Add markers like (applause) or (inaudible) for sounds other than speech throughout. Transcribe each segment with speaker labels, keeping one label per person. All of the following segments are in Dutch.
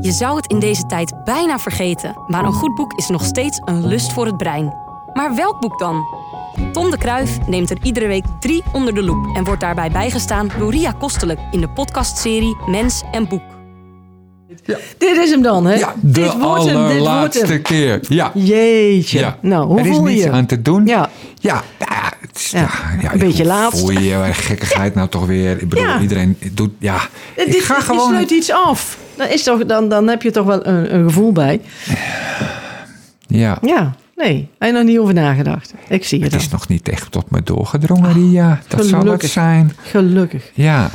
Speaker 1: Je zou het in deze tijd bijna vergeten, maar een goed boek is nog steeds een lust voor het brein. Maar welk boek dan? Tom de Kruif neemt er iedere week drie onder de loep en wordt daarbij bijgestaan door Ria Kostelijk in de podcastserie Mens en Boek.
Speaker 2: Dit is hem dan, hè?
Speaker 3: Ja,
Speaker 2: dit
Speaker 3: de
Speaker 2: wordt hem, dit wordt
Speaker 3: allerlaatste
Speaker 2: hem.
Speaker 3: keer. Ja.
Speaker 2: Jeetje.
Speaker 3: ja.
Speaker 2: Nou, hoe
Speaker 3: er is
Speaker 2: voel je
Speaker 3: niets
Speaker 2: je?
Speaker 3: aan te doen.
Speaker 2: Ja,
Speaker 3: Ja, nou ja, het is-
Speaker 2: Ja,
Speaker 3: ja, ja,
Speaker 2: een beetje
Speaker 3: hoe
Speaker 2: laat.
Speaker 3: Voel je je gekkigheid nou toch weer? Ik bedoel,
Speaker 2: Ja.
Speaker 3: iedereen doet. Ja,
Speaker 2: dit,
Speaker 3: ik ga
Speaker 2: dit
Speaker 3: gewoon.
Speaker 2: sluit iets af. Dan, is toch, dan, dan heb je toch wel een, een gevoel bij.
Speaker 3: Ja,
Speaker 2: Ja, nee. Hij heeft nog niet over nagedacht. Ik zie je
Speaker 3: het
Speaker 2: dan. Ah,
Speaker 3: is nog niet echt tot me doorgedrongen, Ria. Dat zou het
Speaker 2: gelukkig.
Speaker 3: zijn.
Speaker 2: Gelukkig.
Speaker 3: Ja.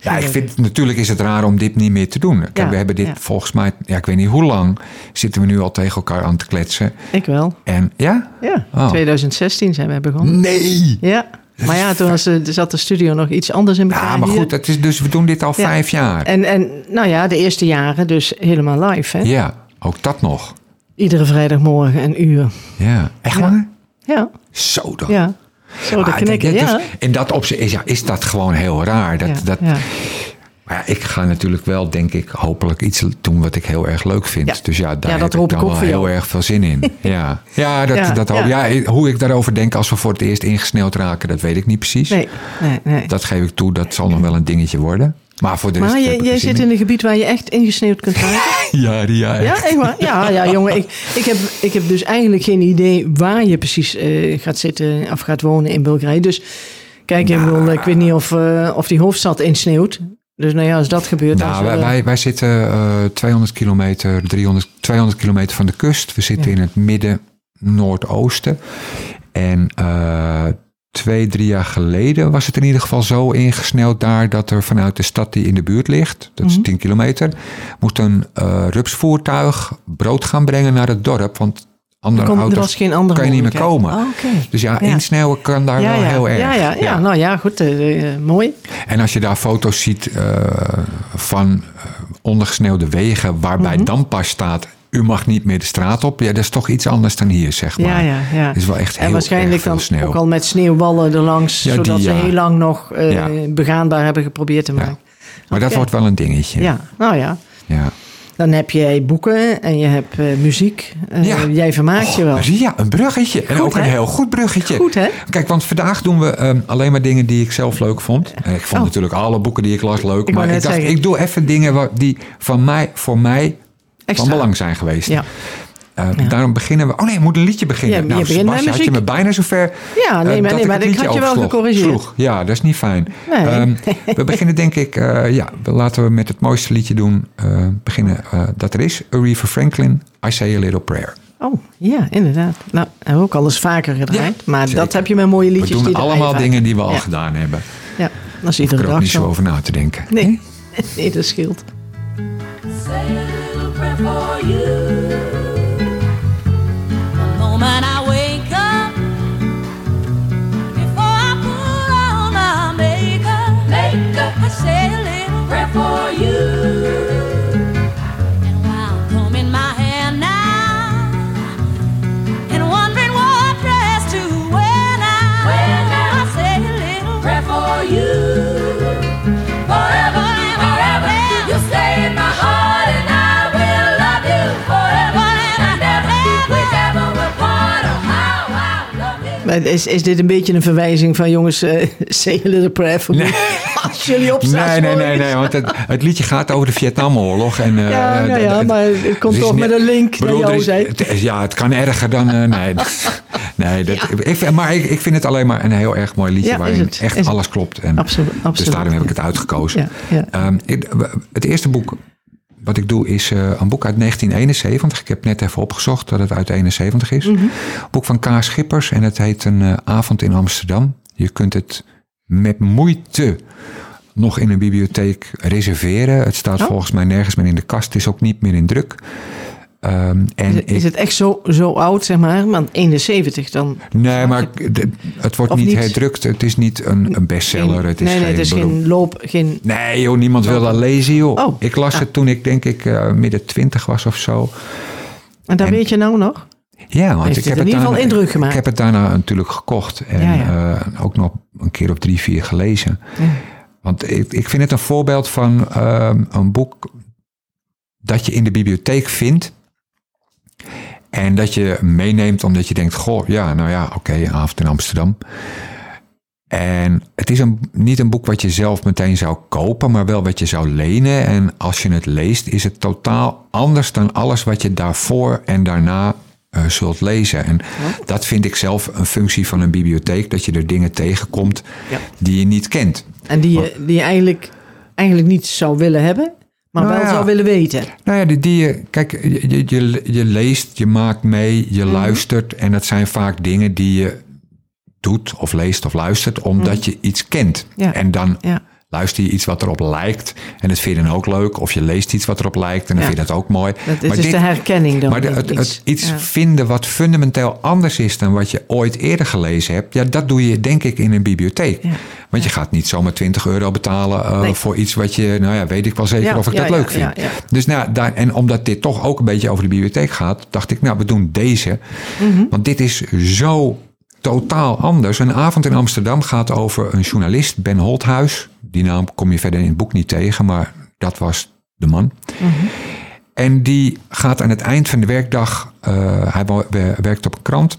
Speaker 3: Ja, ik vind natuurlijk is het raar om dit niet meer te doen. Kijk,
Speaker 2: Ja,
Speaker 3: we hebben dit
Speaker 2: ja.
Speaker 3: volgens mij, ja, ik weet niet hoe lang, zitten we nu al tegen elkaar aan te kletsen.
Speaker 2: Ik wel.
Speaker 3: En ja?
Speaker 2: Ja,
Speaker 3: Oh. Mm.
Speaker 2: 2016 zijn we begonnen.
Speaker 3: Nee!
Speaker 2: Ja. Maar ja, toen was, de- zat de studio nog iets anders in elkaar.
Speaker 3: Ja, Nou, maar
Speaker 2: hier.
Speaker 3: goed, het is dus we doen dit al
Speaker 2: Ja.
Speaker 3: vijf jaar.
Speaker 2: En, en nou ja, de eerste jaren dus helemaal live. Hè?
Speaker 3: Ja, ook dat nog.
Speaker 2: Iedere vrijdagmorgen een uur.
Speaker 3: Ja. Echt waar?
Speaker 2: Ja,
Speaker 3: Zo dan.
Speaker 2: ja. Zo, dat
Speaker 3: Ah,
Speaker 2: knikken.
Speaker 3: dat-
Speaker 2: Ja.
Speaker 3: dus in dat opzicht is, ja, is dat gewoon heel raar. Dat,
Speaker 2: Ja,
Speaker 3: dat,
Speaker 2: ja.
Speaker 3: Maar ja, ik ga natuurlijk wel, denk ik, hopelijk iets doen wat ik heel erg leuk vind.
Speaker 2: Ja.
Speaker 3: Dus ja, daar
Speaker 2: Ja, dat
Speaker 3: heb
Speaker 2: hoop
Speaker 3: ik
Speaker 2: ik
Speaker 3: dan
Speaker 2: ook
Speaker 3: wel
Speaker 2: voor
Speaker 3: heel
Speaker 2: jou.
Speaker 3: erg veel zin
Speaker 2: (laughs)
Speaker 3: in. ja, ja, dat,
Speaker 2: Ja,
Speaker 3: dat hoop
Speaker 2: ja.
Speaker 3: ja. hoe ik daarover denk als we voor het eerst ingesneeuwd raken, dat weet ik niet precies.
Speaker 2: Nee, nee, nee.
Speaker 3: Dat geef ik toe, dat zal nog wel een dingetje worden. Maar voor de rest
Speaker 2: Maar
Speaker 3: heb
Speaker 2: jij,
Speaker 3: ik
Speaker 2: jij
Speaker 3: er zin
Speaker 2: zit in een gebied waar je echt ingesneeuwd kunt raken.
Speaker 3: Ja, Ria, eh, (laughs) echt.
Speaker 2: Ja, echt waar? Ja, ja jongen, ik, ik, heb, ik heb dus eigenlijk geen idee waar je precies eh, gaat zitten of gaat wonen in Bulgarije. Dus kijk,
Speaker 3: Nou.
Speaker 2: ik, bedoel, ik weet niet of, eh, of die hoofdstad insneeuwt. Dus nou ja, als dat gebeurt... dan
Speaker 3: Nou,
Speaker 2: zullen-
Speaker 3: wij, wij, wij zitten eh, 200 kilometer, 300, 200 kilometer van de kust. We zitten
Speaker 2: Ja.
Speaker 3: in het midden noordoosten. En eh, twee, drie jaar geleden was het in ieder geval zo ingesneld daar dat er vanuit de stad die in de buurt ligt, dat
Speaker 2: Mhm.
Speaker 3: is 10 kilometer, moest een eh, rupsvoertuig brood gaan brengen naar het dorp. Want andere
Speaker 2: Kon- er
Speaker 3: auto's
Speaker 2: was geen andere
Speaker 3: kan je niet meer
Speaker 2: mogelijkheid.
Speaker 3: komen.
Speaker 2: Ah, oké.
Speaker 3: Dus ja,
Speaker 2: Ja.
Speaker 3: insneeuwen kan daar
Speaker 2: Ja,
Speaker 3: wel
Speaker 2: ja,
Speaker 3: heel erg.
Speaker 2: ja, ja, ja. nou ja, goed, eh, eh, mooi.
Speaker 3: En als je daar foto's ziet eh, van eh, ondergesneeuwde wegen, waarbij
Speaker 2: Mhm.
Speaker 3: dan pas staat: u mag niet meer de straat op. Ja, dat is toch iets anders dan hier, zeg maar.
Speaker 2: Ja, ja, ja.
Speaker 3: Het is wel echt heel
Speaker 2: en waarschijnlijk
Speaker 3: erg veel
Speaker 2: dan
Speaker 3: sneeuw.
Speaker 2: ook al met sneeuwballen erlangs,
Speaker 3: Ja, die,
Speaker 2: zodat ze
Speaker 3: ja.
Speaker 2: heel lang nog eh,
Speaker 3: Ja.
Speaker 2: begaanbaar hebben geprobeerd te
Speaker 3: Ja.
Speaker 2: maken.
Speaker 3: Maar dat
Speaker 2: Oké.
Speaker 3: wordt wel een dingetje.
Speaker 2: ja nou ja.
Speaker 3: ja.
Speaker 2: Dan heb jij boeken en je hebt eh, muziek. Eh,
Speaker 3: Ja.
Speaker 2: Jij vermaakt je
Speaker 3: Oh,
Speaker 2: wel.
Speaker 3: Ria, een bruggetje. en
Speaker 2: Goed,
Speaker 3: ook
Speaker 2: hè?
Speaker 3: een heel goed bruggetje.
Speaker 2: Goed, hè?
Speaker 3: Kijk, want vandaag doen we ehm, alleen maar dingen die ik zelf leuk vond. En ik vond
Speaker 2: Oh.
Speaker 3: natuurlijk alle boeken die ik las leuk.
Speaker 2: Ik wou
Speaker 3: maar ik
Speaker 2: net
Speaker 3: dacht,
Speaker 2: zeggen.
Speaker 3: ik doe even dingen wa- die van mij, voor mij
Speaker 2: Extra.
Speaker 3: van belang zijn geweest.
Speaker 2: Ja.
Speaker 3: Eh, Daarom beginnen we... Oh nee, ik moet een liedje beginnen.
Speaker 2: Ja, je
Speaker 3: nou,
Speaker 2: begint met
Speaker 3: Sebastian, had je
Speaker 2: muziek.
Speaker 3: me bijna zover...
Speaker 2: Ja, Ah, nee,
Speaker 3: eh,
Speaker 2: maar- nee,
Speaker 3: ik
Speaker 2: maar
Speaker 3: het
Speaker 2: ik
Speaker 3: liedje
Speaker 2: had je wel
Speaker 3: oversloeg-
Speaker 2: gecorrigeerd.
Speaker 3: sloeg. Ja, dat is niet fijn.
Speaker 2: Nee.
Speaker 3: Ehm, we beginnen denk ik... eh, ja, we- laten we met het mooiste liedje doen. eh, beginnen eh, dat er is. Aretha Franklin, I Say A Little Prayer.
Speaker 2: Oh, ja, inderdaad. Nou, hebben we ook al eens vaker gedraaid.
Speaker 3: Ja,
Speaker 2: maar
Speaker 3: zeker.
Speaker 2: dat heb je met mooie
Speaker 3: We
Speaker 2: liedjes.
Speaker 3: doen
Speaker 2: die draai je
Speaker 3: allemaal
Speaker 2: vaak.
Speaker 3: dingen die we al
Speaker 2: Ja.
Speaker 3: gedaan hebben.
Speaker 2: Ja, dat is
Speaker 3: Ik
Speaker 2: iedere
Speaker 3: er ook
Speaker 2: dag
Speaker 3: niet zo
Speaker 2: zo.
Speaker 3: over na te denken.
Speaker 2: Nee. (laughs) nee, dat scheelt.
Speaker 4: Say a little prayer for you. The moment I wake up, before I put on my makeup, makeup, I say a little prayer for you. And while I'm combing my hair now, and wondering what dress to wear now, I say a little prayer for you forever, forever. You stay in my heart, and I will love you forever and ever. We never will part. Oh, how I love you.
Speaker 2: Maar is, is dit een beetje een verwijzing van jongens, eh (laughs) say a little prayer for me. (laughs) Als jullie opstaan.
Speaker 3: Nee, nee, nee,
Speaker 2: morgens.
Speaker 3: nee, want het, het liedje gaat over de Vietnamoorlog. En, eh,
Speaker 2: Ja, nou ja,
Speaker 3: eh,
Speaker 2: maar het komt
Speaker 3: is
Speaker 2: toch
Speaker 3: niet-
Speaker 2: met een link naar
Speaker 3: Bedoel, er
Speaker 2: jou,
Speaker 3: is-
Speaker 2: zei.
Speaker 3: het is- Ja, het kan erger dan... eh, nee, (laughs) nee dat, ik, vind- maar ik, ik vind het alleen maar een heel erg mooi liedje...
Speaker 2: Ja, is
Speaker 3: waarin
Speaker 2: het,
Speaker 3: echt
Speaker 2: is het.
Speaker 3: alles klopt. En
Speaker 2: Absoluut, absoluut.
Speaker 3: Dus daarom heb ik het uitgekozen.
Speaker 2: Ja, ja.
Speaker 3: Ehm, ik- het eerste boek wat ik doe is eh, een boek uit 1971. Ik heb net even opgezocht dat het uit 71 is.
Speaker 2: Mhm.
Speaker 3: Boek van K. Schippers en het heet Een eh, avond in Amsterdam. Je kunt het met moeite nog in een bibliotheek reserveren. Het staat
Speaker 2: Oh.
Speaker 3: volgens mij nergens meer in de kast. Het is ook niet meer in druk. Ehm, en
Speaker 2: Is, het- is
Speaker 3: ik-
Speaker 2: het echt zo, zo oud, zeg maar? Want 71 dan.
Speaker 3: nee, maar ik- d- het wordt
Speaker 2: Of
Speaker 3: niet,
Speaker 2: niet?
Speaker 3: herdrukt. Het is niet een, een bestseller. Het is
Speaker 2: nee, nee,
Speaker 3: geen
Speaker 2: het is
Speaker 3: beroep.
Speaker 2: geen loop, geen...
Speaker 3: Nee, joh, niemand wil dat lezen, joh.
Speaker 2: Oh.
Speaker 3: ik las
Speaker 2: Ah.
Speaker 3: het toen ik denk ik eh, midden twintig was of zo.
Speaker 2: En dat
Speaker 3: En-
Speaker 2: weet je nou nog?
Speaker 3: Ja, want
Speaker 2: Heeft
Speaker 3: ik
Speaker 2: het
Speaker 3: heb het
Speaker 2: in ieder geval
Speaker 3: daarna-
Speaker 2: indruk gemaakt.
Speaker 3: Ik heb het daarna natuurlijk gekocht en
Speaker 2: Ja, ja.
Speaker 3: eh, ook nog een keer op drie, vier gelezen. Want ik, ik vind het een voorbeeld van ehm, een boek eh, dat je in de bibliotheek vindt. En dat je meeneemt omdat je denkt, goh, ja, nou ja, oké, een avond in Amsterdam. En het is een, niet een boek wat je zelf meteen zou kopen, maar wel wat je zou lenen. En als je het leest, is het totaal anders dan alles wat je daarvoor en daarna eh, zult lezen. En dat vind ik zelf een functie van een bibliotheek, dat je er dingen tegenkomt
Speaker 2: Ja.
Speaker 3: die je niet kent.
Speaker 2: En die je, die je eigenlijk, eigenlijk niet zou willen hebben, maar
Speaker 3: Nou
Speaker 2: wel
Speaker 3: ja.
Speaker 2: zou willen weten.
Speaker 3: Nou ja, die, die je- kijk, je, je- je, je leest, je maakt mee, je
Speaker 2: Mhm.
Speaker 3: luistert. En dat zijn vaak dingen die je doet of leest of luistert omdat je iets kent.
Speaker 2: Mhm. Ja.
Speaker 3: En dan
Speaker 2: Ja.
Speaker 3: luister je iets wat erop lijkt en dat vind je dan ook leuk. Of je leest iets wat erop lijkt en dan
Speaker 2: Ja.
Speaker 3: vind je dat ook mooi.
Speaker 2: Dat, dit
Speaker 3: Maar
Speaker 2: is dus
Speaker 3: dit-
Speaker 2: de herkenning dan.
Speaker 3: maar de-
Speaker 2: van
Speaker 3: het, het iets
Speaker 2: Ja.
Speaker 3: vinden wat fundamenteel anders is dan wat je ooit eerder gelezen hebt, ja, dat doe je denk ik in een bibliotheek.
Speaker 2: Ja.
Speaker 3: Want je gaat niet zomaar 20 euro betalen eh,
Speaker 2: Nee.
Speaker 3: voor iets wat je, nou ja, weet ik wel zeker
Speaker 2: Ja,
Speaker 3: of ik
Speaker 2: ja,
Speaker 3: dat
Speaker 2: ja,
Speaker 3: leuk vind.
Speaker 2: ja, ja.
Speaker 3: Dus nou, ja, daar, en omdat dit toch ook een beetje over de bibliotheek gaat, dacht ik, nou, we doen deze.
Speaker 2: Mhm.
Speaker 3: Want dit is zo totaal anders. Een avond in Amsterdam gaat over een journalist, Ben Holthuis. Die naam kom je verder in het boek niet tegen, maar dat was de man. En die gaat aan het eind van de werkdag, eh, hij wo- we- werkt op een krant.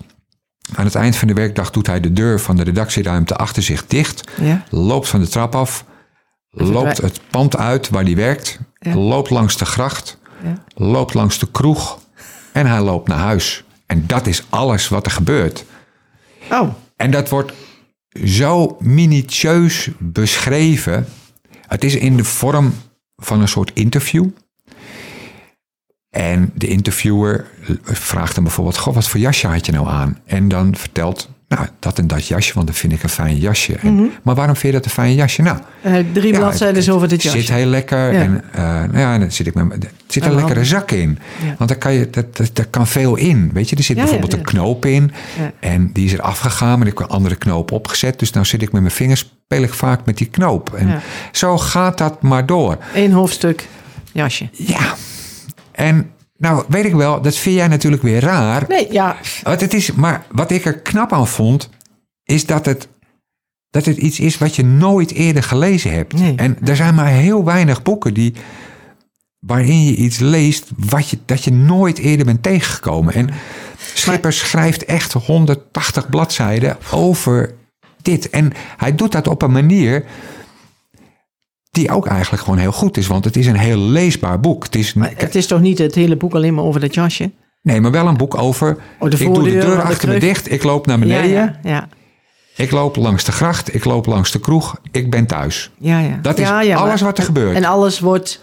Speaker 3: Aan het eind van de werkdag doet hij de deur van de redactieruimte achter zich dicht.
Speaker 2: Ja.
Speaker 3: Loopt van de trap af. Loopt het pand uit waar hij werkt.
Speaker 2: Ja.
Speaker 3: Loopt langs de gracht.
Speaker 2: Ja.
Speaker 3: Loopt langs de kroeg. En hij loopt naar huis. En dat is alles wat er gebeurt.
Speaker 2: Oh,
Speaker 3: En dat wordt zo minutieus beschreven. Het is in de vorm van een soort interview. En de interviewer vraagt hem bijvoorbeeld: Goh, wat voor jasje had je nou aan? En dan vertelt. Nou, dat en dat jasje, want dat vind ik een fijn jasje. En, Maar waarom vind je dat een fijn jasje? Nou,
Speaker 2: eh, drie
Speaker 3: ja,
Speaker 2: bladzijden
Speaker 3: het-
Speaker 2: over dit
Speaker 3: het
Speaker 2: jasje.
Speaker 3: Zit heel lekker.
Speaker 2: Ja.
Speaker 3: En, eh, nou ja, en dan zit ik met, mijn- er zit een
Speaker 2: En dan-
Speaker 3: lekkere zak in.
Speaker 2: Ja.
Speaker 3: Want daar kan, je, dat, dat, daar kan veel in. Weet je, er zit
Speaker 2: Ja, ja,
Speaker 3: bijvoorbeeld
Speaker 2: ja.
Speaker 3: een knoop in.
Speaker 2: Ja.
Speaker 3: En die is er afgegaan, maar ik heb een andere knoop opgezet. Dus nou zit ik met mijn vingers, speel ik vaak met die knoop. En
Speaker 2: Ja.
Speaker 3: zo gaat dat maar door.
Speaker 2: Eén hoofdstuk jasje.
Speaker 3: Ja. En nou weet ik wel, dat vind jij natuurlijk weer raar.
Speaker 2: Nee, ja.
Speaker 3: Want het is, maar wat ik er knap aan vond, is dat het, dat het iets is wat je nooit eerder gelezen hebt.
Speaker 2: Nee.
Speaker 3: En er zijn maar heel weinig boeken die, waarin je iets leest wat je, dat je nooit eerder bent tegengekomen. En Schipper schrijft echt 180 bladzijden over dit. En hij doet dat op een manier die ook eigenlijk gewoon heel goed is. Want het is een heel leesbaar boek. Het is,
Speaker 2: Het is toch niet het hele boek alleen maar over dat jasje?
Speaker 3: Nee, maar wel een boek over.
Speaker 2: Oh, de
Speaker 3: ik doe de
Speaker 2: voordeur,
Speaker 3: deur
Speaker 2: de
Speaker 3: achter me
Speaker 2: kruk.
Speaker 3: dicht. Ik loop naar beneden.
Speaker 2: ja, ja. ja.
Speaker 3: Ik loop langs de gracht. Ik loop langs de kroeg. Ik ben thuis.
Speaker 2: Ja, ja.
Speaker 3: Dat is
Speaker 2: ja, ja,
Speaker 3: alles
Speaker 2: maar-
Speaker 3: wat er gebeurt.
Speaker 2: En alles wordt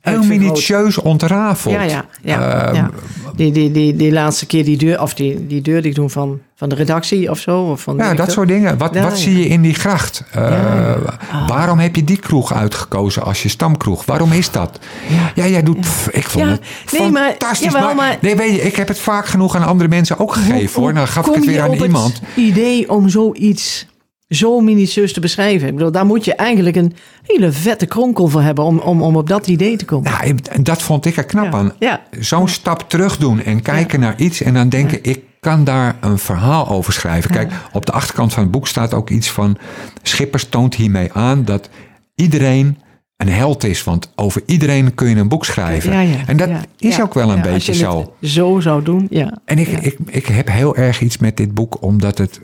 Speaker 3: Heel
Speaker 2: uitvergroot.
Speaker 3: minutieus ontrafeld.
Speaker 2: Ja, ja, ja,
Speaker 3: Ehm,
Speaker 2: ja. Die, die, die, die laatste keer die deur, of die, die deur die ik doe van, van de redactie of zo. Of van
Speaker 3: Ja,
Speaker 2: weet ik
Speaker 3: dat
Speaker 2: veel.
Speaker 3: soort dingen. Wat,
Speaker 2: Ja,
Speaker 3: wat
Speaker 2: ja.
Speaker 3: zie je in die gracht? Eh,
Speaker 2: ja. Ah.
Speaker 3: Waarom heb je die kroeg uitgekozen als je stamkroeg? Waarom is dat? Ja, jij doet... pff, ik vond
Speaker 2: Ja,
Speaker 3: het
Speaker 2: nee, maar-
Speaker 3: fantastisch.
Speaker 2: jawel, maar-
Speaker 3: nee, weet je, ik heb het vaak genoeg aan andere mensen ook gegeven. hoor. Nou, Dan gaf ik
Speaker 2: Kom
Speaker 3: het
Speaker 2: je
Speaker 3: weer aan
Speaker 2: op het
Speaker 3: iemand.
Speaker 2: idee om zoiets zo minutieus te beschrijven. Ik bedoel, daar moet je eigenlijk een hele vette kronkel voor hebben om, om, om op dat idee te komen.
Speaker 3: Nou, en dat vond ik er knap
Speaker 2: Ja.
Speaker 3: aan.
Speaker 2: Ja.
Speaker 3: Zo'n stap terug doen en kijken naar iets en dan denken, ik kan daar een verhaal over schrijven. Kijk, op de achterkant van het boek staat ook iets van, Schippers toont hiermee aan dat iedereen een held is. Want over iedereen kun je een boek schrijven.
Speaker 2: Ja, ja,
Speaker 3: en dat
Speaker 2: ja,
Speaker 3: is
Speaker 2: ja.
Speaker 3: ook wel een
Speaker 2: Ja,
Speaker 3: beetje
Speaker 2: als je
Speaker 3: zo.
Speaker 2: het zo zou doen, ja.
Speaker 3: En ik, ik, ik heb heel erg iets met dit boek, omdat het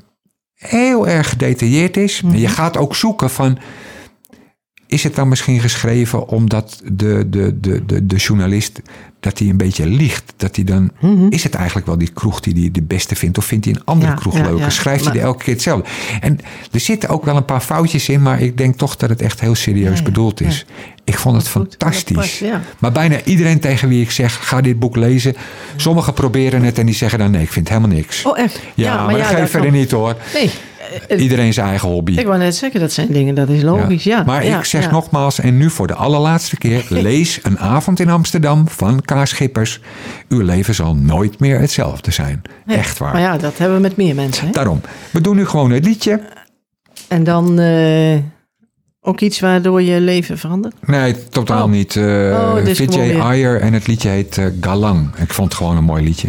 Speaker 3: heel erg gedetailleerd is.
Speaker 2: Mhm.
Speaker 3: En Je gaat ook zoeken van. Is het dan misschien geschreven omdat de, de, de, de, de journalist dat hij een beetje liegt? Dat hij dan, Is het eigenlijk wel die kroeg die hij de beste vindt? Of vindt hij een andere
Speaker 2: Mhm. Ja,
Speaker 3: kroeg
Speaker 2: ja,
Speaker 3: leuker?
Speaker 2: ja.
Speaker 3: Schrijft
Speaker 2: Maar-
Speaker 3: hij er elke keer hetzelfde? En er zitten ook wel een paar foutjes in, maar ik denk toch dat het echt heel serieus
Speaker 2: Ja, ja,
Speaker 3: bedoeld is. Ik vond het
Speaker 2: Goed, dat
Speaker 3: fantastisch.
Speaker 2: past, ja.
Speaker 3: Maar bijna iedereen tegen wie ik zeg, ga dit boek lezen. Sommigen proberen het en die zeggen dan nee, ik vind helemaal niks.
Speaker 2: Oh, echt?
Speaker 3: ja, maar dat geeft verder
Speaker 2: kan-
Speaker 3: niet hoor.
Speaker 2: Nee, eh,
Speaker 3: Iedereen zijn eigen hobby.
Speaker 2: ik wou net zeggen, dat zijn dingen, dat is logisch, ja.
Speaker 3: Maar
Speaker 2: ja,
Speaker 3: ik zeg
Speaker 2: ja.
Speaker 3: nogmaals, en nu voor de allerlaatste
Speaker 2: (laughs)
Speaker 3: keer, lees Een avond in Amsterdam van K. Schippers. Uw leven zal nooit meer hetzelfde zijn.
Speaker 2: Nee,
Speaker 3: Echt waar.
Speaker 2: Maar ja, dat hebben we met meer mensen, hè?
Speaker 3: Daarom, we doen nu gewoon het liedje.
Speaker 2: En dan eh, ook iets waardoor je leven verandert?
Speaker 3: Nee, totaal
Speaker 2: Oh.
Speaker 3: niet. eh
Speaker 2: Oh, dit is
Speaker 3: Vijay
Speaker 2: gewoon weer-
Speaker 3: Iyer en het liedje heet eh, Galang. Ik vond het gewoon een mooi liedje.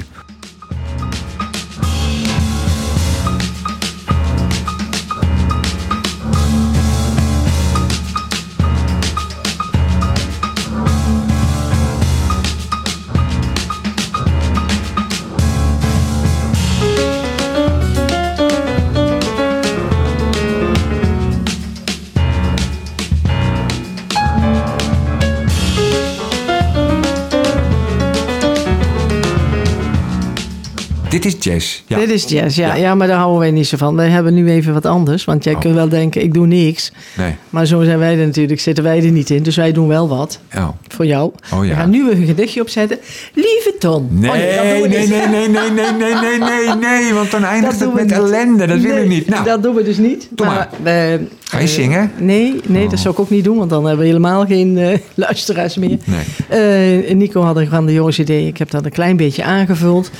Speaker 3: Dit is jazz. Ja.
Speaker 2: Dit is jazz, ja.
Speaker 3: Ja.
Speaker 2: ja. maar daar houden wij niet zo van. Wij hebben nu even wat anders. Want jij
Speaker 3: Oh.
Speaker 2: kunt wel denken, ik doe niks.
Speaker 3: Nee.
Speaker 2: Maar zo zijn wij er natuurlijk, zitten wij er niet in. Dus wij doen wel wat.
Speaker 3: Oh.
Speaker 2: Voor jou.
Speaker 3: Oh, ja.
Speaker 2: We gaan nu een gedichtje opzetten. Lieve Ton.
Speaker 3: Nee,
Speaker 2: Oh, dat doen we
Speaker 3: nee,
Speaker 2: niet.
Speaker 3: nee, nee, nee, nee, nee, nee, nee, nee, want dan eindigt
Speaker 2: doen
Speaker 3: het
Speaker 2: we
Speaker 3: met
Speaker 2: niet.
Speaker 3: ellende. Dat wil
Speaker 2: Nee,
Speaker 3: ik niet. Nou,
Speaker 2: Dat doen we dus niet.
Speaker 3: Doe Oh.
Speaker 2: we-
Speaker 3: Ga je
Speaker 2: eh,
Speaker 3: zingen?
Speaker 2: Nee, nee dat zou ik ook niet doen, want dan hebben we helemaal geen eh, (laughs) luisteraars meer.
Speaker 3: nee.
Speaker 2: Eh, Nico had een grandioos idee. Ik heb dat een klein beetje aangevuld.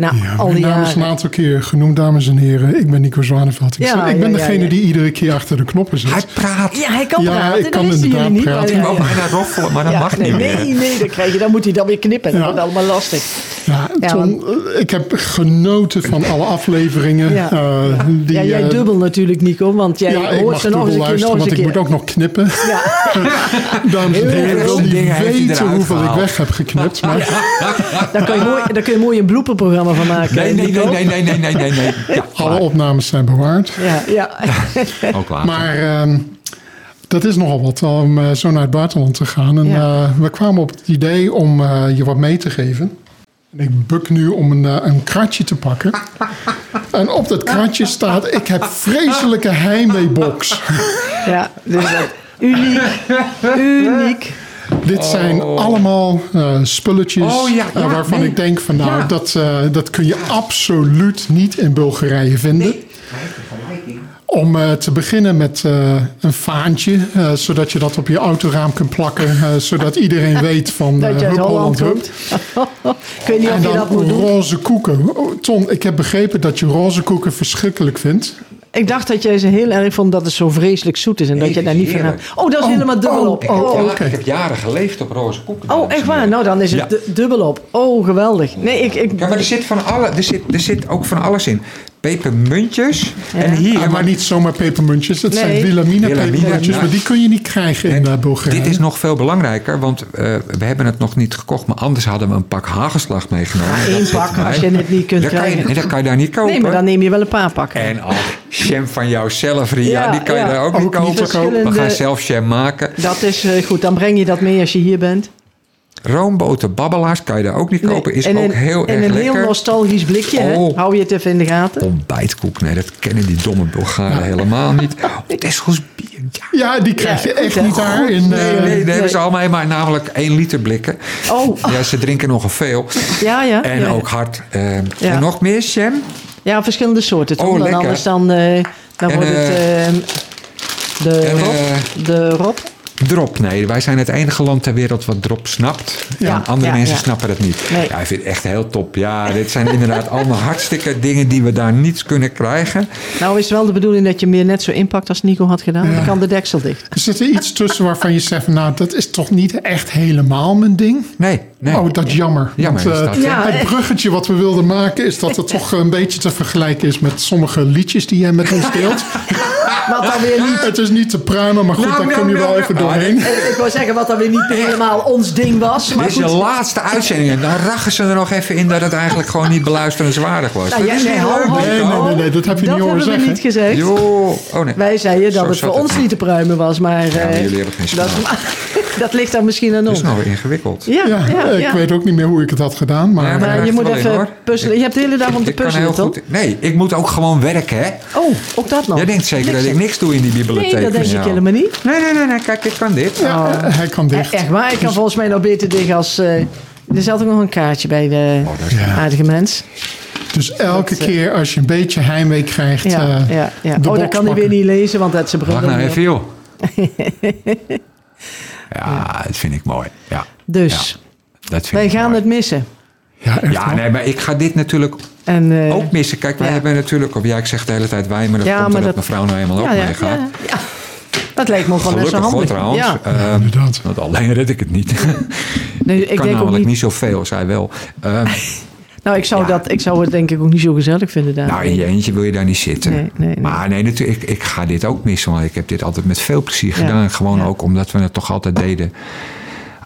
Speaker 2: Nou,
Speaker 5: Ja,
Speaker 2: al die
Speaker 5: mijn naam is
Speaker 2: jaren.
Speaker 5: een aantal keer genoemd, dames en heren. Ik ben Nico Zwaneveld. Ik,
Speaker 2: Ja,
Speaker 5: zeg- ik ben
Speaker 2: ja, ja,
Speaker 5: degene
Speaker 2: ja.
Speaker 5: die iedere keer achter de knoppen
Speaker 3: Hij
Speaker 5: zit.
Speaker 3: praat.
Speaker 2: Ja, hij kan
Speaker 5: Ja,
Speaker 2: praten.
Speaker 5: ik
Speaker 2: dat
Speaker 5: kan
Speaker 2: wisten jullie
Speaker 5: inderdaad
Speaker 2: niet, maar
Speaker 5: praten.
Speaker 3: Ik
Speaker 2: ja,
Speaker 3: wou
Speaker 2: ja.
Speaker 3: Oh, bijna roffelen, maar dat
Speaker 2: Ja,
Speaker 3: mag
Speaker 2: nee,
Speaker 3: niet meer.
Speaker 2: nee, nee, dat krijg je. Dan moet hij dan weer knippen. Dat
Speaker 5: Ja.
Speaker 2: wordt allemaal lastig.
Speaker 5: Ja,
Speaker 2: Ja,
Speaker 5: Tom, eh, ik heb genoten van alle afleveringen.
Speaker 2: Ja.
Speaker 5: eh, die,
Speaker 2: ja, jij
Speaker 5: eh,
Speaker 2: dubbel natuurlijk, Nico, want jij
Speaker 5: Ja, ik
Speaker 2: hoort
Speaker 5: mag
Speaker 2: ze nog eens
Speaker 5: dubbel
Speaker 2: een keer, nog eens een
Speaker 5: luisteren, want ik moet
Speaker 2: keer.
Speaker 5: ook nog knippen.
Speaker 2: Ja.
Speaker 5: Dames en heren,
Speaker 2: veel
Speaker 5: ik wil niet
Speaker 3: dingen heeft hij
Speaker 5: weten
Speaker 3: eruit
Speaker 5: hoeveel ik
Speaker 3: gehaald.
Speaker 5: weg heb
Speaker 2: (laughs)
Speaker 5: geknipt. Maar
Speaker 2: Daar kun je mooi, daar kun je mooi een blooperprogramma van maken.
Speaker 3: Nee, nee, nee,
Speaker 2: Nico.
Speaker 3: nee, nee, nee, nee, nee, nee. Ja,
Speaker 5: alle
Speaker 3: klaar.
Speaker 5: opnames zijn bewaard.
Speaker 2: Ja, ja.
Speaker 3: Ook klaar.
Speaker 5: Maar ehm, dat is nogal wat om eh, zo naar het buitenland te gaan. En
Speaker 2: Ja.
Speaker 5: eh, we kwamen op het idee om eh, je wat mee te geven. En ik buk nu om een, eh, een kratje te
Speaker 3: (laughs)
Speaker 5: pakken. En op dat kratje staat: Ik heb vreselijke
Speaker 3: (laughs)
Speaker 5: heimweebox.
Speaker 2: Ja, dus dat, uniek. Uniek.
Speaker 5: Dit zijn allemaal eh, spulletjes
Speaker 3: Oh, ja, ja,
Speaker 5: eh, waarvan
Speaker 3: nee.
Speaker 5: ik denk: van nou,
Speaker 3: Ja.
Speaker 5: dat, eh, dat kun je absoluut niet in Bulgarije vinden. Om eh, te beginnen met eh, een vaantje, eh, zodat je dat op je autoraam kunt plakken, eh, zodat iedereen weet van
Speaker 2: (laughs)
Speaker 5: eh
Speaker 2: Dat je uit
Speaker 5: Hup
Speaker 2: Holland
Speaker 5: Holland Hup.
Speaker 2: komt. Ik weet niet
Speaker 5: En
Speaker 2: of je dat
Speaker 5: dan
Speaker 2: moet doen.
Speaker 5: roze koeken. Oh, Ton, ik heb begrepen dat je roze koeken verschrikkelijk vindt.
Speaker 2: Ik dacht dat jij ze heel erg vond dat het zo vreselijk zoet is en dat
Speaker 3: Nee,
Speaker 2: je daar niet van
Speaker 3: heerlijk.
Speaker 2: gaat. Oh, dat is helemaal dubbel op.
Speaker 5: oh, oh,
Speaker 2: Oh,
Speaker 5: oh.
Speaker 3: Ja,
Speaker 5: oké.
Speaker 3: Ik heb jaren geleefd op roze koeken.
Speaker 2: oh, echt waar? Nou, dan is het
Speaker 3: Ja.
Speaker 2: du- dubbel op. Oh, geweldig. Nee, ik... ik
Speaker 3: Ja, maar er zit, van alle, er, zit, er zit ook van alles in. Pepermuntjes. En
Speaker 5: Ja,
Speaker 2: Ah,
Speaker 3: hier.
Speaker 5: Ah, maar niet zomaar pepermuntjes, dat
Speaker 2: Nee.
Speaker 5: zijn Wilhelmina
Speaker 3: Wilhelmina,
Speaker 5: pepermuntjes,
Speaker 3: ja.
Speaker 5: maar die kun je niet krijgen in
Speaker 3: En
Speaker 5: eh, Bulgarije.
Speaker 3: Dit is nog veel belangrijker, want eh, we hebben het nog niet gekocht. Maar anders hadden we een pak hagelslag meegenomen.
Speaker 2: Ja,
Speaker 3: En dat
Speaker 2: één
Speaker 3: zit
Speaker 2: pak,
Speaker 3: mij.
Speaker 2: als je het niet kunt
Speaker 3: Dat kan je-
Speaker 2: krijgen.
Speaker 3: nee, dat kan je daar niet kopen.
Speaker 2: nee, maar dan neem je wel een paar pakken.
Speaker 3: En al jam van jouw zelf, Ria,
Speaker 2: Ja,
Speaker 3: die kan je
Speaker 2: ja.
Speaker 3: daar ook,
Speaker 5: Ook
Speaker 3: niet
Speaker 5: niet
Speaker 3: kopen.
Speaker 5: te kopen.
Speaker 3: We gaan
Speaker 2: Verschillende-
Speaker 3: zelf jam maken.
Speaker 2: Dat is eh, goed. Dan breng je dat mee als je hier bent.
Speaker 3: Roomboten, babbelaars kan je daar ook niet
Speaker 2: Nee,
Speaker 3: kopen. Is
Speaker 2: en
Speaker 3: ook
Speaker 2: een,
Speaker 3: heel
Speaker 2: En
Speaker 3: erg
Speaker 2: een
Speaker 3: lekker.
Speaker 2: heel nostalgisch blikje, hè?
Speaker 3: Oh.
Speaker 2: Hou je het even in de gaten.
Speaker 3: Ontbijtkoek, nee, dat kennen die domme Bulgaren helemaal
Speaker 2: (laughs)
Speaker 3: niet. Tesco's bier, ja.
Speaker 5: Ja, die krijg
Speaker 2: Ja,
Speaker 5: je
Speaker 2: goed,
Speaker 5: echt
Speaker 2: hè.
Speaker 5: niet daar
Speaker 3: Nee,
Speaker 5: in...
Speaker 3: nee,
Speaker 5: eh,
Speaker 3: nee, hebben
Speaker 2: nee.
Speaker 3: ze allemaal maar namelijk 1 liter blikken.
Speaker 2: Oh,
Speaker 3: Ja, ze drinken nogal veel.
Speaker 2: ja, ja.
Speaker 3: En
Speaker 2: ja.
Speaker 3: ook hard. Eh,
Speaker 2: Ja.
Speaker 3: En nog meer, Sam?
Speaker 2: Ja, verschillende soorten.
Speaker 3: Oh,
Speaker 2: Toch? dan
Speaker 3: lekker.
Speaker 2: anders dan, eh, dan
Speaker 3: En,
Speaker 2: wordt het
Speaker 3: eh,
Speaker 2: ehm, de,
Speaker 3: en,
Speaker 2: rob,
Speaker 3: eh,
Speaker 2: de rob.
Speaker 3: Drop, nee. Wij zijn het enige land ter wereld wat drop snapt.
Speaker 2: Ja,
Speaker 3: en andere
Speaker 2: ja,
Speaker 3: mensen
Speaker 2: ja.
Speaker 3: snappen dat niet.
Speaker 2: Nee.
Speaker 3: Ja, ik vind het echt heel top. Ja, dit zijn inderdaad allemaal hartstikke dingen die we daar niet kunnen krijgen.
Speaker 2: Nou is het wel de bedoeling dat je meer net zo inpakt als Nico had gedaan. Dan kan de deksel dicht.
Speaker 5: Er zit er iets tussen waarvan je zegt, van, nou, dat is toch niet echt helemaal mijn ding?
Speaker 3: Nee, nee.
Speaker 5: Oh, dat is jammer.
Speaker 3: Jammer
Speaker 5: Want,
Speaker 3: is dat,
Speaker 5: eh,
Speaker 2: hè? Ja,
Speaker 5: Het
Speaker 2: eh.
Speaker 5: bruggetje wat we wilden maken is dat het
Speaker 2: (laughs)
Speaker 5: toch een beetje te vergelijken is met sommige liedjes die jij met ons
Speaker 2: (laughs)
Speaker 5: deelt.
Speaker 2: Wat dan weer niet.
Speaker 5: Het is niet te pruimen, maar goed,
Speaker 3: Nou,
Speaker 5: daar
Speaker 3: nou,
Speaker 5: kom je wel
Speaker 3: nou,
Speaker 5: even
Speaker 3: nou.
Speaker 5: doorheen.
Speaker 2: Ik wou zeggen wat dan weer niet helemaal ons ding was. Maar
Speaker 3: Dit is je
Speaker 2: goed.
Speaker 3: laatste uitzending. En dan rachen ze er nog even in dat het eigenlijk gewoon niet beluisterenswaardig was.
Speaker 2: Nou,
Speaker 3: Dat
Speaker 2: ja,
Speaker 3: is
Speaker 2: nee,
Speaker 3: niet
Speaker 2: ho,
Speaker 3: leuk,
Speaker 2: ho,
Speaker 3: Nico.
Speaker 5: Nee, nee, nee, nee, dat heb je
Speaker 2: Dat
Speaker 5: niet horen
Speaker 2: hebben we
Speaker 5: zeggen.
Speaker 2: niet gezegd.
Speaker 3: Joh. Oh, nee.
Speaker 2: Wij zeiden dat
Speaker 3: Zo
Speaker 2: het
Speaker 3: zat nou.
Speaker 2: voor ons niet te pruimen was. Maar eh,
Speaker 3: maar jullie hebben geen
Speaker 2: dat, (laughs) dat ligt dan misschien aan
Speaker 3: Dat is
Speaker 2: ons.
Speaker 3: nou weer ingewikkeld.
Speaker 2: Ja,
Speaker 5: Ja,
Speaker 2: ja, ja,
Speaker 5: ik weet ook niet meer hoe ik het had gedaan, maar... eh,
Speaker 3: Ja,
Speaker 2: Maar
Speaker 3: Echt
Speaker 2: je moet
Speaker 3: wel in,
Speaker 2: even
Speaker 3: hoor.
Speaker 2: puzzelen. Je hebt de hele dag om te
Speaker 3: Ik kan
Speaker 2: puzzelen,
Speaker 3: heel
Speaker 2: toch?
Speaker 3: goed- Nee, ik moet ook gewoon werken, hè?
Speaker 2: Oh, ook dat nog.
Speaker 3: Jij denkt zeker dat ik
Speaker 2: zeggen.
Speaker 3: niks doe in die bibliotheek.
Speaker 2: Nee, dat denk
Speaker 3: van
Speaker 2: ik
Speaker 3: jou.
Speaker 2: helemaal niet.
Speaker 3: Nee, nee, nee, nee, kijk, ik kan dit.
Speaker 5: ja, eh, hij kan dicht.
Speaker 2: E- Echt waar,
Speaker 5: Dus-
Speaker 2: ik kan volgens mij nog beter tegen als... eh, er zat ook nog een kaartje bij de
Speaker 3: Oh,
Speaker 5: Ja.
Speaker 2: aardige mens.
Speaker 5: Dus elke keer als je een beetje heimwee krijgt,
Speaker 2: eh, Ja,
Speaker 5: eh,
Speaker 2: ja, ja.
Speaker 5: de
Speaker 2: Oh, dat
Speaker 5: box
Speaker 2: kan hij weer
Speaker 5: pakken.
Speaker 2: niet lezen, want dat is een bril.
Speaker 3: Wacht nou even, joh.
Speaker 2: (laughs)
Speaker 3: ja, dat vind ik mooi. Ja,
Speaker 2: Dus,
Speaker 3: dat vind
Speaker 2: wij
Speaker 3: ik
Speaker 2: gaan
Speaker 3: mooi.
Speaker 2: het missen.
Speaker 5: Ja, echt
Speaker 3: Ja,
Speaker 5: wel.
Speaker 3: nee, maar ik ga dit natuurlijk
Speaker 2: En, eh,
Speaker 3: ook missen. Kijk, wij
Speaker 2: ja.
Speaker 3: hebben natuurlijk... Of ja, ik zeg de hele tijd wij, maar dat
Speaker 2: Ja,
Speaker 3: komt
Speaker 2: maar
Speaker 3: omdat
Speaker 2: dat-
Speaker 3: mevrouw nou eenmaal ook
Speaker 2: ja,
Speaker 3: meegaat.
Speaker 2: ja, ja. Dat lijkt me gewoon best wel
Speaker 3: Gelukkig hoor,
Speaker 2: handig.
Speaker 3: trouwens.
Speaker 2: Ja.
Speaker 3: Eh,
Speaker 5: Ja, inderdaad.
Speaker 3: want alleen red ik het niet. (laughs)
Speaker 2: Nee, ik
Speaker 3: kan
Speaker 2: denk ook
Speaker 3: namelijk
Speaker 2: niet,
Speaker 3: niet zoveel, zij wel. Eh,
Speaker 2: Nou, ik zou, dat, ik zou het denk ik ook niet zo gezellig vinden daar.
Speaker 3: Nou, in je eentje wil je daar niet zitten.
Speaker 2: Ah, Nee, nee, nee.
Speaker 3: Maar nee, natuurlijk, ik, ik ga dit ook missen. Want ik heb dit altijd met veel plezier
Speaker 2: Ja,
Speaker 3: gedaan. Gewoon
Speaker 2: ja.
Speaker 3: ook omdat we het toch altijd deden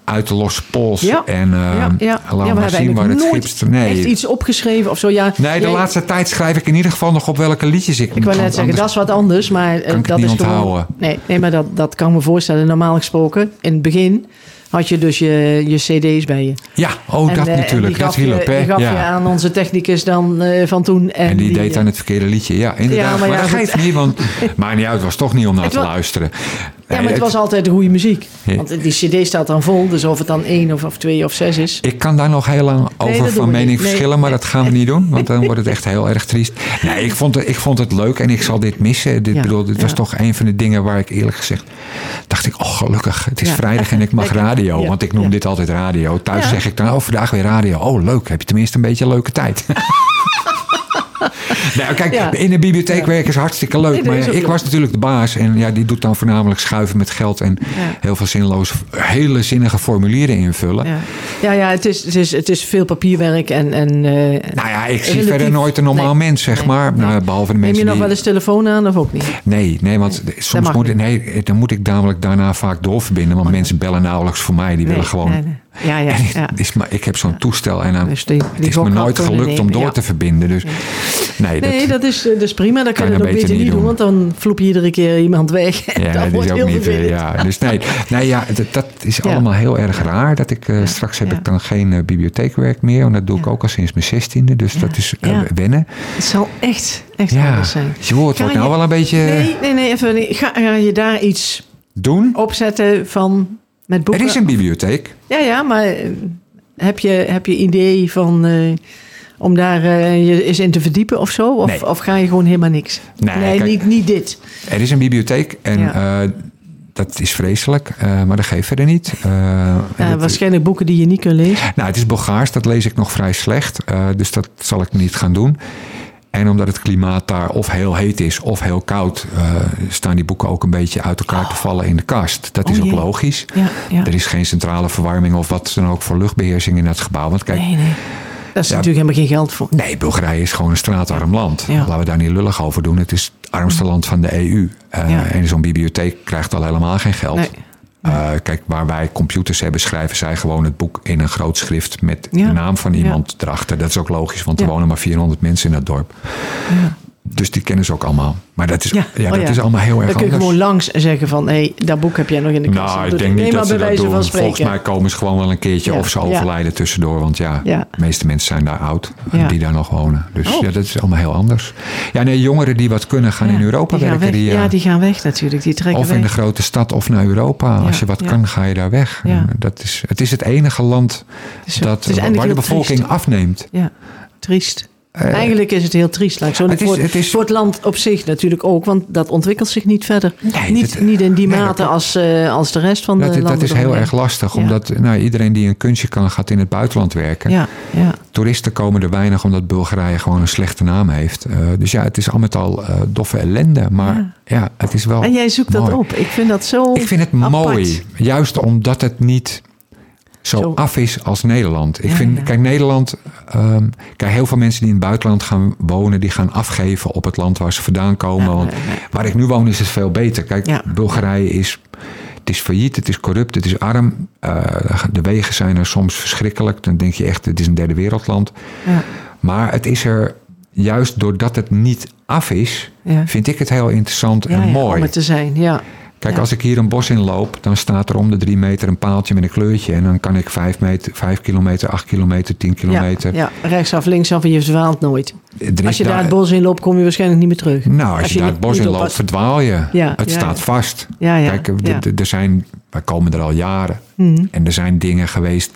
Speaker 3: uit de losse pols.
Speaker 2: Ja,
Speaker 3: En eh
Speaker 2: ja, ja.
Speaker 3: laat
Speaker 2: ja,
Speaker 3: maar zien waar
Speaker 2: eigenlijk
Speaker 3: het
Speaker 2: nooit
Speaker 3: schipst. Nee,
Speaker 2: echt iets opgeschreven of zo. Ja,
Speaker 3: nee de
Speaker 2: jij-
Speaker 3: laatste tijd schrijf ik in ieder geval nog op welke liedjes ik
Speaker 2: Ik wou net zeggen, dat is wat anders, maar eh,
Speaker 3: Kan ik het
Speaker 2: dat
Speaker 3: niet
Speaker 2: is gewoon.
Speaker 3: onthouden.
Speaker 2: Nee, nee, maar dat, dat kan ik me voorstellen. Normaal gesproken, in het begin had je dus je, je cd's bij je.
Speaker 3: Ja, oh,
Speaker 2: En,
Speaker 3: dat
Speaker 2: eh, en
Speaker 3: natuurlijk.
Speaker 2: die
Speaker 3: Dat
Speaker 2: gaf je-
Speaker 3: hielp, hè?
Speaker 2: Die gaf je
Speaker 3: Ja.
Speaker 2: aan onze technicus dan eh, van toen. En,
Speaker 3: En die, deed
Speaker 2: eh,
Speaker 3: dan het verkeerde liedje. Ja, inderdaad.
Speaker 2: maar
Speaker 3: maar
Speaker 2: ja,
Speaker 3: dat
Speaker 2: goed.
Speaker 3: geeft niet,
Speaker 2: (laughs)
Speaker 3: want maakt niet uit. Het was toch niet om naar
Speaker 2: Het
Speaker 3: te
Speaker 2: wa-
Speaker 3: luisteren.
Speaker 2: Ja,
Speaker 3: Nee,
Speaker 2: maar het
Speaker 3: het-
Speaker 2: was altijd goede muziek.
Speaker 3: Ja.
Speaker 2: Want die cd staat dan vol, dus of het dan één of, of twee of zes is.
Speaker 3: Ik kan daar nog heel lang over
Speaker 2: dat doen
Speaker 3: van
Speaker 2: we
Speaker 3: mening
Speaker 2: niet. Nee,
Speaker 3: verschillen, maar
Speaker 2: nee.
Speaker 3: dat gaan we niet doen. Want dan wordt het echt heel erg triest. Nee, ik vond het, ik vond het leuk en ik zal dit missen. Dit,
Speaker 2: Ja,
Speaker 3: bedoel, dit was
Speaker 2: ja.
Speaker 3: toch een van de dingen waar ik eerlijk gezegd dacht ik, oh gelukkig, het is
Speaker 2: Ja.
Speaker 3: vrijdag en ik mag
Speaker 2: Lekker.
Speaker 3: radio.
Speaker 2: Ja,
Speaker 3: Want ik noem
Speaker 2: ja.
Speaker 3: dit altijd radio. Thuis
Speaker 2: Ja.
Speaker 3: zeg ik dan, oh vandaag weer radio. Oh leuk, heb je tenminste een beetje een leuke tijd. (laughs) Nou, kijk,
Speaker 2: Ja.
Speaker 3: in de bibliotheek werken is hartstikke leuk.
Speaker 2: Nee, dat
Speaker 3: maar
Speaker 2: is
Speaker 3: ja,
Speaker 2: ook
Speaker 3: ik
Speaker 2: leuk.
Speaker 3: was natuurlijk de baas. En ja, die doet dan voornamelijk schuiven met geld. En heel veel zinloze, hele zinnige formulieren invullen.
Speaker 2: Ja, ja, ja het, is, het, is, het is veel papierwerk en... en eh,
Speaker 3: Nou ja, ik zie
Speaker 2: Relatief.
Speaker 3: verder nooit een normaal
Speaker 2: Nee.
Speaker 3: mens, zeg
Speaker 2: Nee.
Speaker 3: maar.
Speaker 2: Nee.
Speaker 3: Nou, behalve de
Speaker 2: neem je
Speaker 3: mensen
Speaker 2: nog
Speaker 3: die...
Speaker 2: wel eens telefoon aan of ook niet?
Speaker 3: Nee, nee, want soms
Speaker 2: mag
Speaker 3: moet,
Speaker 2: niet. Oh,
Speaker 3: nee, eh, dan moet ik namelijk daarna vaak doorverbinden. Want mensen bellen nauwelijks voor mij. Die willen gewoon...
Speaker 2: nee, nee.
Speaker 3: (laughs)
Speaker 2: Ja, ja, ja.
Speaker 3: Het Is maar, ik heb zo'n toestel en dan,
Speaker 2: Dus die- die
Speaker 3: het is me
Speaker 2: gok had
Speaker 3: nooit
Speaker 2: kunnen
Speaker 3: gelukt om
Speaker 2: nemen,
Speaker 3: door
Speaker 2: ja.
Speaker 3: te verbinden. Dus nee, dat,
Speaker 2: Nee, dat is, eh, dat is prima. Dat kan,
Speaker 3: Kan
Speaker 2: je
Speaker 3: je
Speaker 2: het ook
Speaker 3: beter
Speaker 2: beter
Speaker 3: niet
Speaker 2: niet doen,
Speaker 3: doen.
Speaker 2: want dan floep je iedere keer iemand weg. (laughs) En
Speaker 3: Ja,
Speaker 2: dat
Speaker 3: dat
Speaker 2: wordt
Speaker 3: is
Speaker 2: heel
Speaker 3: ook niet. eh,
Speaker 2: vervelend.
Speaker 3: Ja, dus nee, nee ja, dat, dat is
Speaker 2: Ja.
Speaker 3: allemaal heel erg raar. Dat ik, eh, straks heb
Speaker 2: ja.
Speaker 3: ik dan geen eh, bibliotheekwerk meer. Want dat doe ik ook al sinds mijn zestiende. Dus dat is eh,
Speaker 2: Ja.
Speaker 3: wennen.
Speaker 2: Het zal echt, echt
Speaker 3: Ja,
Speaker 2: anders zijn.
Speaker 3: joh, het
Speaker 2: Ga
Speaker 3: wordt nou
Speaker 2: je-
Speaker 3: wel een beetje
Speaker 2: Nee, nee, nee, even. nee. Ga, ga je daar iets
Speaker 3: doen.
Speaker 2: opzetten van met
Speaker 3: Er
Speaker 2: boeken?
Speaker 3: is een bibliotheek.
Speaker 2: Ja, ja, maar eh, heb je, heb je idee van eh, om daar eh, je eens in te verdiepen of zo? Of,
Speaker 3: Nee.
Speaker 2: of ga je gewoon helemaal niks?
Speaker 3: Nee, kijk-
Speaker 2: niet, niet dit.
Speaker 3: Er is een bibliotheek en
Speaker 2: Ja.
Speaker 3: eh, dat is vreselijk. eh, maar dat geeft verder niet. Eh, en
Speaker 2: Ja,
Speaker 3: dat-
Speaker 2: waarschijnlijk boeken die je niet kunt lezen.
Speaker 3: Nou, het is Bulgaars, dat lees ik nog vrij slecht. eh, dus dat zal ik niet gaan doen. En omdat het klimaat daar of heel heet is of heel koud, eh, staan die boeken ook een beetje uit elkaar te vallen in de kast. Dat is
Speaker 2: Oh,
Speaker 3: ook
Speaker 2: jee.
Speaker 3: logisch.
Speaker 2: Ja, ja.
Speaker 3: Er is geen centrale verwarming of wat dan ook voor luchtbeheersing in dat gebouw. Want kijk,
Speaker 2: Nee, nee. Daar is natuurlijk helemaal geen geld voor.
Speaker 3: Nee, Bulgarije is gewoon een straatarm land.
Speaker 2: Ja. Mm.
Speaker 3: Laten we daar niet lullig over doen. Het is het armste land van de EU. Eh,
Speaker 2: Ja.
Speaker 3: En zo'n bibliotheek krijgt al helemaal geen geld.
Speaker 2: Nee.
Speaker 3: Eh, kijk, waar wij computers hebben, schrijven zij gewoon het boek in een groot schrift met
Speaker 2: Ja.
Speaker 3: de naam van iemand erachter. Dat is ook logisch, want er
Speaker 2: Ja.
Speaker 3: wonen maar 400 mensen in dat dorp. Dus die kennen ze ook allemaal. Maar dat is, ja.
Speaker 2: Ja. Oh,
Speaker 3: dat
Speaker 2: ja.
Speaker 3: is allemaal heel erg
Speaker 2: Dan kun je
Speaker 3: anders.
Speaker 2: gewoon langs en zeggen van... hé, hey, dat boek heb jij nog in de kast.
Speaker 3: Nou,
Speaker 2: doe
Speaker 3: ik denk
Speaker 2: Nee,
Speaker 3: niet
Speaker 2: maar
Speaker 3: dat ze
Speaker 2: bij
Speaker 3: dat
Speaker 2: wijze
Speaker 3: doen.
Speaker 2: van spreken.
Speaker 3: Volgens mij komen ze gewoon wel een keertje
Speaker 2: Ja.
Speaker 3: of ze
Speaker 2: Ja.
Speaker 3: overlijden tussendoor. Want ja,
Speaker 2: Ja.
Speaker 3: de meeste mensen zijn daar oud,
Speaker 2: Ja.
Speaker 3: die daar nog wonen. Dus
Speaker 2: Oh.
Speaker 3: ja, dat is allemaal heel anders. Ja, nee, jongeren die wat kunnen gaan
Speaker 2: Ja,
Speaker 3: in Europa
Speaker 2: die gaan
Speaker 3: werken.
Speaker 2: weg.
Speaker 3: Die, eh,
Speaker 2: ja, die gaan weg natuurlijk. Die trekken
Speaker 3: of in de
Speaker 2: weg.
Speaker 3: grote stad of naar Europa.
Speaker 2: Ja,
Speaker 3: Als je wat
Speaker 2: ja.
Speaker 3: kan, ga je daar weg.
Speaker 2: Ja.
Speaker 3: Eh, Dat is, het is het enige land
Speaker 2: is- Dus het
Speaker 3: dat,
Speaker 2: is eigenlijk
Speaker 3: waar de
Speaker 2: heel
Speaker 3: bevolking
Speaker 2: triest.
Speaker 3: afneemt.
Speaker 2: Ja, triest. Eigenlijk is het heel triest. Laat ik zo.
Speaker 3: het is-
Speaker 2: voor,
Speaker 3: het is-
Speaker 2: voor het land op zich natuurlijk ook. Want dat ontwikkelt zich niet verder.
Speaker 3: Nee,
Speaker 2: niet,
Speaker 3: dat-
Speaker 2: niet in die
Speaker 3: nee, dat
Speaker 2: mate
Speaker 3: klopt.
Speaker 2: als, eh, als de rest van de
Speaker 3: Dat,
Speaker 2: landen.
Speaker 3: dat is heel
Speaker 2: eromheen.
Speaker 3: erg lastig,
Speaker 2: Ja.
Speaker 3: omdat nou, iedereen die een kunstje kan, gaat in het buitenland werken.
Speaker 2: Ja, ja.
Speaker 3: Toeristen komen er weinig omdat Bulgarije gewoon een slechte naam heeft. Eh, dus ja, het is al met al eh, doffe ellende. Maar ja. het is wel.
Speaker 2: En jij zoekt
Speaker 3: Oh, mooi.
Speaker 2: dat op. Ik vind dat zo
Speaker 3: Ik vind het
Speaker 2: apart.
Speaker 3: mooi. Juist omdat het niet zo,
Speaker 2: Zo.
Speaker 3: af is als Nederland. Ik
Speaker 2: Ja,
Speaker 3: vind,
Speaker 2: ja.
Speaker 3: kijk, Nederland. ehm, kijk, heel veel mensen die in het buitenland gaan wonen, die gaan afgeven op het land waar ze vandaan komen.
Speaker 2: Ja,
Speaker 3: want
Speaker 2: ja, ja.
Speaker 3: waar ik nu woon is het veel beter. Kijk,
Speaker 2: Ja.
Speaker 3: Bulgarije is. Het is failliet, het is corrupt, het is arm. Eh, de wegen zijn er soms verschrikkelijk. Dan denk je echt, het is een derde wereldland.
Speaker 2: Ja,
Speaker 3: Maar het is er juist doordat het niet af is,
Speaker 2: ja.
Speaker 3: vind ik het heel interessant
Speaker 2: Ja,
Speaker 3: en
Speaker 2: ja,
Speaker 3: mooi.
Speaker 2: Om het te zijn, ja.
Speaker 3: Kijk,
Speaker 2: ja.
Speaker 3: als ik hier een bos in loop, dan staat er om de drie meter een paaltje met een kleurtje. En dan kan ik vijf, meter, vijf kilometer, acht kilometer, tien kilometer.
Speaker 2: Ja, ja, rechtsaf, linksaf en je verdwaalt nooit.
Speaker 3: Er is
Speaker 2: Als je daar het bos in loopt, kom je waarschijnlijk niet meer terug.
Speaker 3: Nou, als, je, daar het
Speaker 2: niet-
Speaker 3: bos
Speaker 2: niet
Speaker 3: in loopt,
Speaker 2: oppast.
Speaker 3: verdwaal je.
Speaker 2: Ja,
Speaker 3: het
Speaker 2: ja,
Speaker 3: staat
Speaker 2: ja.
Speaker 3: vast.
Speaker 2: Ja, ja,
Speaker 3: Kijk, d-
Speaker 2: ja. Hmm.
Speaker 3: d- er zijn, wij komen er al jaren. En er zijn dingen geweest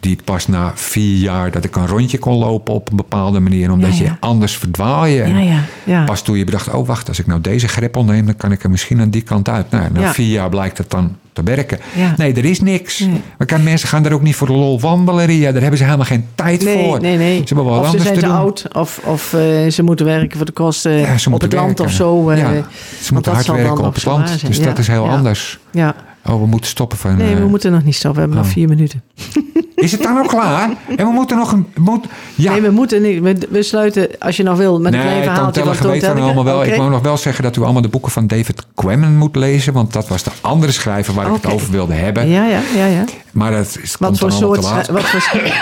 Speaker 3: die pas na vier jaar dat ik een rondje kon lopen op een bepaalde manier. Omdat
Speaker 2: Ja, ja.
Speaker 3: je anders verdwaal je.
Speaker 2: Ja, ja, ja.
Speaker 3: Pas toen je bedacht, oh wacht, als ik nou deze greppel neem, dan kan ik er misschien aan die kant uit. Nou, na
Speaker 2: Ja.
Speaker 3: vier jaar blijkt het dan te werken.
Speaker 2: Ja.
Speaker 3: Nee, er is niks.
Speaker 2: Nee.
Speaker 3: Maar kijk, mensen gaan daar ook niet voor de lol wandelen, Ria. Daar hebben ze helemaal geen tijd
Speaker 2: nee,
Speaker 3: voor.
Speaker 2: nee, nee.
Speaker 3: Ze hebben wel wat
Speaker 2: of ze
Speaker 3: anders
Speaker 2: zijn te,
Speaker 3: doen.
Speaker 2: oud, of, of eh, ze moeten werken voor de kosten
Speaker 3: Ja, ze
Speaker 2: op
Speaker 3: moeten
Speaker 2: het land
Speaker 3: werken.
Speaker 2: of zo. eh,
Speaker 3: Ja,
Speaker 2: want
Speaker 3: ze moeten
Speaker 2: dat
Speaker 3: hard
Speaker 2: zal dan
Speaker 3: werken
Speaker 2: nog
Speaker 3: op het
Speaker 2: zo waar
Speaker 3: land.
Speaker 2: zijn.
Speaker 3: Dus
Speaker 2: Ja,
Speaker 3: dat is heel
Speaker 2: ja.
Speaker 3: anders.
Speaker 2: Ja.
Speaker 3: Oh, we moeten stoppen van...
Speaker 2: Nee,
Speaker 3: eh,
Speaker 2: we moeten nog niet stoppen. We hebben
Speaker 3: oh.
Speaker 2: nog vier minuten.
Speaker 3: Is het dan al
Speaker 2: (laughs)
Speaker 3: klaar? En we moeten nog een... Moet, ja,
Speaker 2: Nee, we moeten niet. We, we sluiten, als je nog wil, met een klein verhaal.
Speaker 3: Tellegen weet dan allemaal
Speaker 2: Oh,
Speaker 3: wel. Ik wou nog wel zeggen dat u allemaal de boeken van David Quammen moet lezen. Want dat was de andere schrijver waar ik
Speaker 2: Oké.
Speaker 3: het over wilde hebben.
Speaker 2: Ja, ja, ja. ja.
Speaker 3: Maar dat is,
Speaker 2: Wat
Speaker 3: eh, komt
Speaker 2: voor
Speaker 3: dan allemaal
Speaker 2: soort...
Speaker 3: te laat.
Speaker 2: schrij- Wat voor, schrij-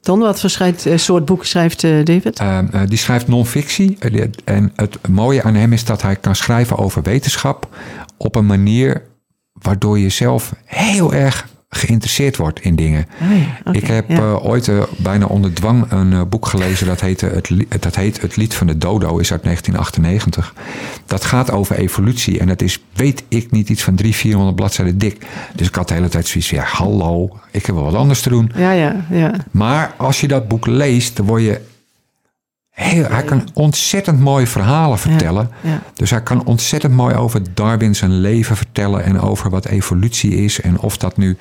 Speaker 2: Ton, wat voor schrijft, eh, soort boek schrijft eh, David?
Speaker 3: Ehm, eh, die schrijft non-fictie. Eh, die- En het mooie aan hem is dat hij kan schrijven over wetenschap op een manier waardoor je zelf heel erg geïnteresseerd wordt in dingen.
Speaker 2: Ah ja, oké,
Speaker 3: ik heb
Speaker 2: ja.
Speaker 3: eh, ooit eh, bijna onder dwang een eh, boek gelezen. Dat, heette het, Li- dat heet Het Lied van de Dodo, is uit 1998. Dat gaat over evolutie. En dat is, weet ik niet, iets van 300, 400 bladzijden dik. Dus ik had de hele tijd zoiets van, ja, hallo, ik heb wel wat anders te doen.
Speaker 2: ja, ja,
Speaker 3: eh,
Speaker 2: ja.
Speaker 3: Maar als je dat boek leest, dan word je... Heel, hij kan ontzettend mooie verhalen vertellen.
Speaker 2: ja.
Speaker 3: Dus hij kan ontzettend mooi over Darwin zijn leven vertellen. En over wat evolutie is. En of dat nu...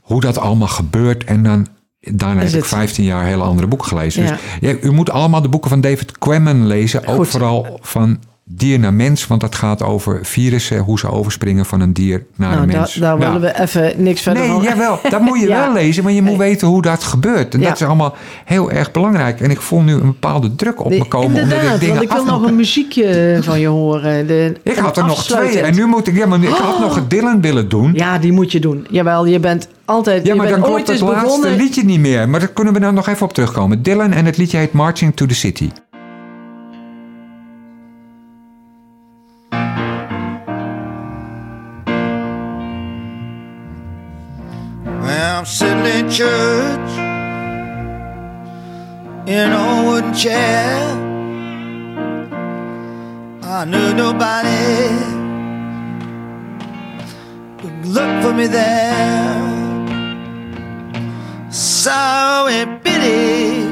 Speaker 3: Hoe dat allemaal gebeurt. En dan... Daarna
Speaker 2: Is
Speaker 3: heb ik
Speaker 2: het-
Speaker 3: 15 jaar hele andere boeken gelezen.
Speaker 2: Ja.
Speaker 3: Dus ja, u moet allemaal de boeken van David Quammen lezen. Ook
Speaker 2: Goed.
Speaker 3: vooral van dier naar mens. Want dat gaat over virussen. Hoe ze overspringen van een dier naar
Speaker 2: Nou,
Speaker 3: een
Speaker 2: da-
Speaker 3: mens.
Speaker 2: daar
Speaker 3: Ja.
Speaker 2: willen we even niks verder
Speaker 3: Nee,
Speaker 2: van.
Speaker 3: jawel. Dat moet je
Speaker 2: (laughs) Ja.
Speaker 3: wel lezen, maar je moet weten hoe dat gebeurt. En
Speaker 2: Ja.
Speaker 3: dat is allemaal heel erg belangrijk. En ik voel nu een bepaalde druk op me komen. Omdat ik
Speaker 2: Inderdaad,
Speaker 3: dingen
Speaker 2: want ik wil
Speaker 3: af
Speaker 2: nog
Speaker 3: moet-
Speaker 2: een muziekje eh, van je horen. De,
Speaker 3: Ik
Speaker 2: een
Speaker 3: had er nog twee.
Speaker 2: afsluitend.
Speaker 3: En nu moet ik... Ja, maar ik had nog het Dylan willen doen. Ja,
Speaker 2: Ja, die moet je doen. Jawel, je bent altijd... je
Speaker 3: maar
Speaker 2: bent
Speaker 3: dan
Speaker 2: ooit
Speaker 3: klopt het
Speaker 2: eens
Speaker 3: laatste
Speaker 2: begonnen.
Speaker 3: liedje niet meer. Maar daar kunnen we dan nog even op terugkomen. Dylan en het liedje heet Marching to the City.
Speaker 6: I'm sitting in church in a wooden chair. I knew nobody would look for me there. Sorrow and pity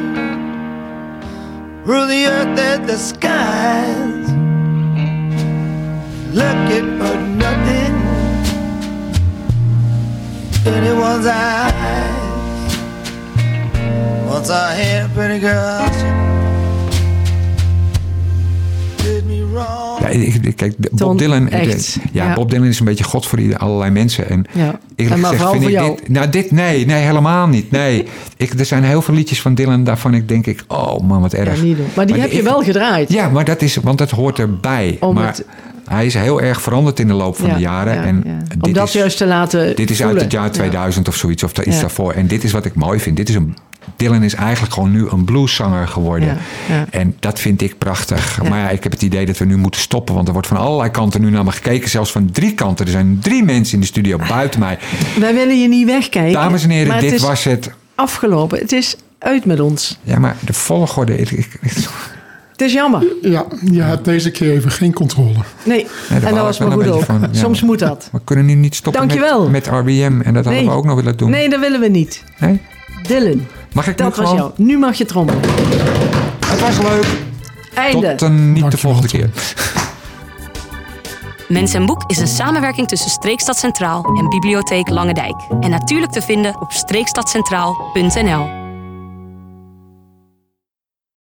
Speaker 6: rule the earth and the skies. Looking for nothing anyone's eyes. Once I had a pretty girl, she did me wrong.
Speaker 3: Ja, ik, ik- kijk, Bob
Speaker 2: Ton,
Speaker 3: Dylan... ik-
Speaker 2: echt.
Speaker 3: ja,
Speaker 2: Ja.
Speaker 3: Bob Dylan is een beetje god voor ieder- allerlei mensen. En
Speaker 2: Ja.
Speaker 3: Eerlijk
Speaker 2: En maar
Speaker 3: gezegd
Speaker 2: vooral
Speaker 3: vind
Speaker 2: voor
Speaker 3: ik
Speaker 2: jou.
Speaker 3: dit... Nou, dit nee. Nee, helemaal niet. Nee. (laughs) ik, er zijn heel veel liedjes van Dylan daarvan ik denk ik... Oh man, wat erg.
Speaker 2: Ja, niet doen. Maar die heb je
Speaker 3: ik-
Speaker 2: wel gedraaid.
Speaker 3: Ja, maar dat is... Want dat hoort erbij.
Speaker 2: Om
Speaker 3: maar
Speaker 2: het-
Speaker 3: hij is heel erg veranderd in de loop van
Speaker 2: Ja,
Speaker 3: de jaren.
Speaker 2: ja,
Speaker 3: en
Speaker 2: ja.
Speaker 3: dit
Speaker 2: Om dat
Speaker 3: is,
Speaker 2: juist te laten
Speaker 3: Dit is uit
Speaker 2: voelen.
Speaker 3: het jaar
Speaker 2: Ja.
Speaker 3: 2000 of zoiets. Of daar iets
Speaker 2: Ja.
Speaker 3: daarvoor. En dit is wat ik mooi vind. Dit is een... Dylan is eigenlijk gewoon nu een blueszanger geworden.
Speaker 2: Ja, ja.
Speaker 3: En dat vind ik prachtig. Maar ja, ik heb het idee dat we nu moeten stoppen. Want er wordt van allerlei kanten nu naar me gekeken. Zelfs van drie kanten. Er zijn drie mensen in de studio buiten mij.
Speaker 2: Wij willen je niet wegkijken.
Speaker 3: Dames en heren,
Speaker 2: Ah, maar
Speaker 3: dit
Speaker 2: het is
Speaker 3: was het.
Speaker 2: afgelopen. Het is uit met ons.
Speaker 3: Ja, maar de volgorde. Ik, ik, ik-
Speaker 2: Het is jammer.
Speaker 5: Ja, je hebt deze keer even geen controle.
Speaker 2: Nee,
Speaker 3: daar
Speaker 2: en
Speaker 3: baal
Speaker 2: dat
Speaker 3: ik
Speaker 2: was
Speaker 3: wel
Speaker 2: maar
Speaker 3: een
Speaker 2: goed ook.
Speaker 3: beetje van, ja.
Speaker 2: Soms moet dat.
Speaker 3: we kunnen nu niet stoppen
Speaker 2: Dankjewel.
Speaker 3: met, met RBM. En dat hadden
Speaker 2: Nee.
Speaker 3: we ook nog willen doen.
Speaker 2: Nee, dat willen we niet.
Speaker 3: Nee?
Speaker 2: Dylan,
Speaker 3: Mag ik
Speaker 2: dat
Speaker 3: nu
Speaker 2: was
Speaker 3: gewoon?
Speaker 2: jou. Nu mag je trommelen.
Speaker 3: Het was leuk.
Speaker 2: Einde.
Speaker 3: Tot eh, een niet de
Speaker 5: Dankjewel,
Speaker 3: volgende
Speaker 5: Tom.
Speaker 3: keer.
Speaker 1: Mens en Boek is een samenwerking tussen Streekstad Centraal en Bibliotheek Langendijk. En natuurlijk te vinden op streekstadcentraal.nl.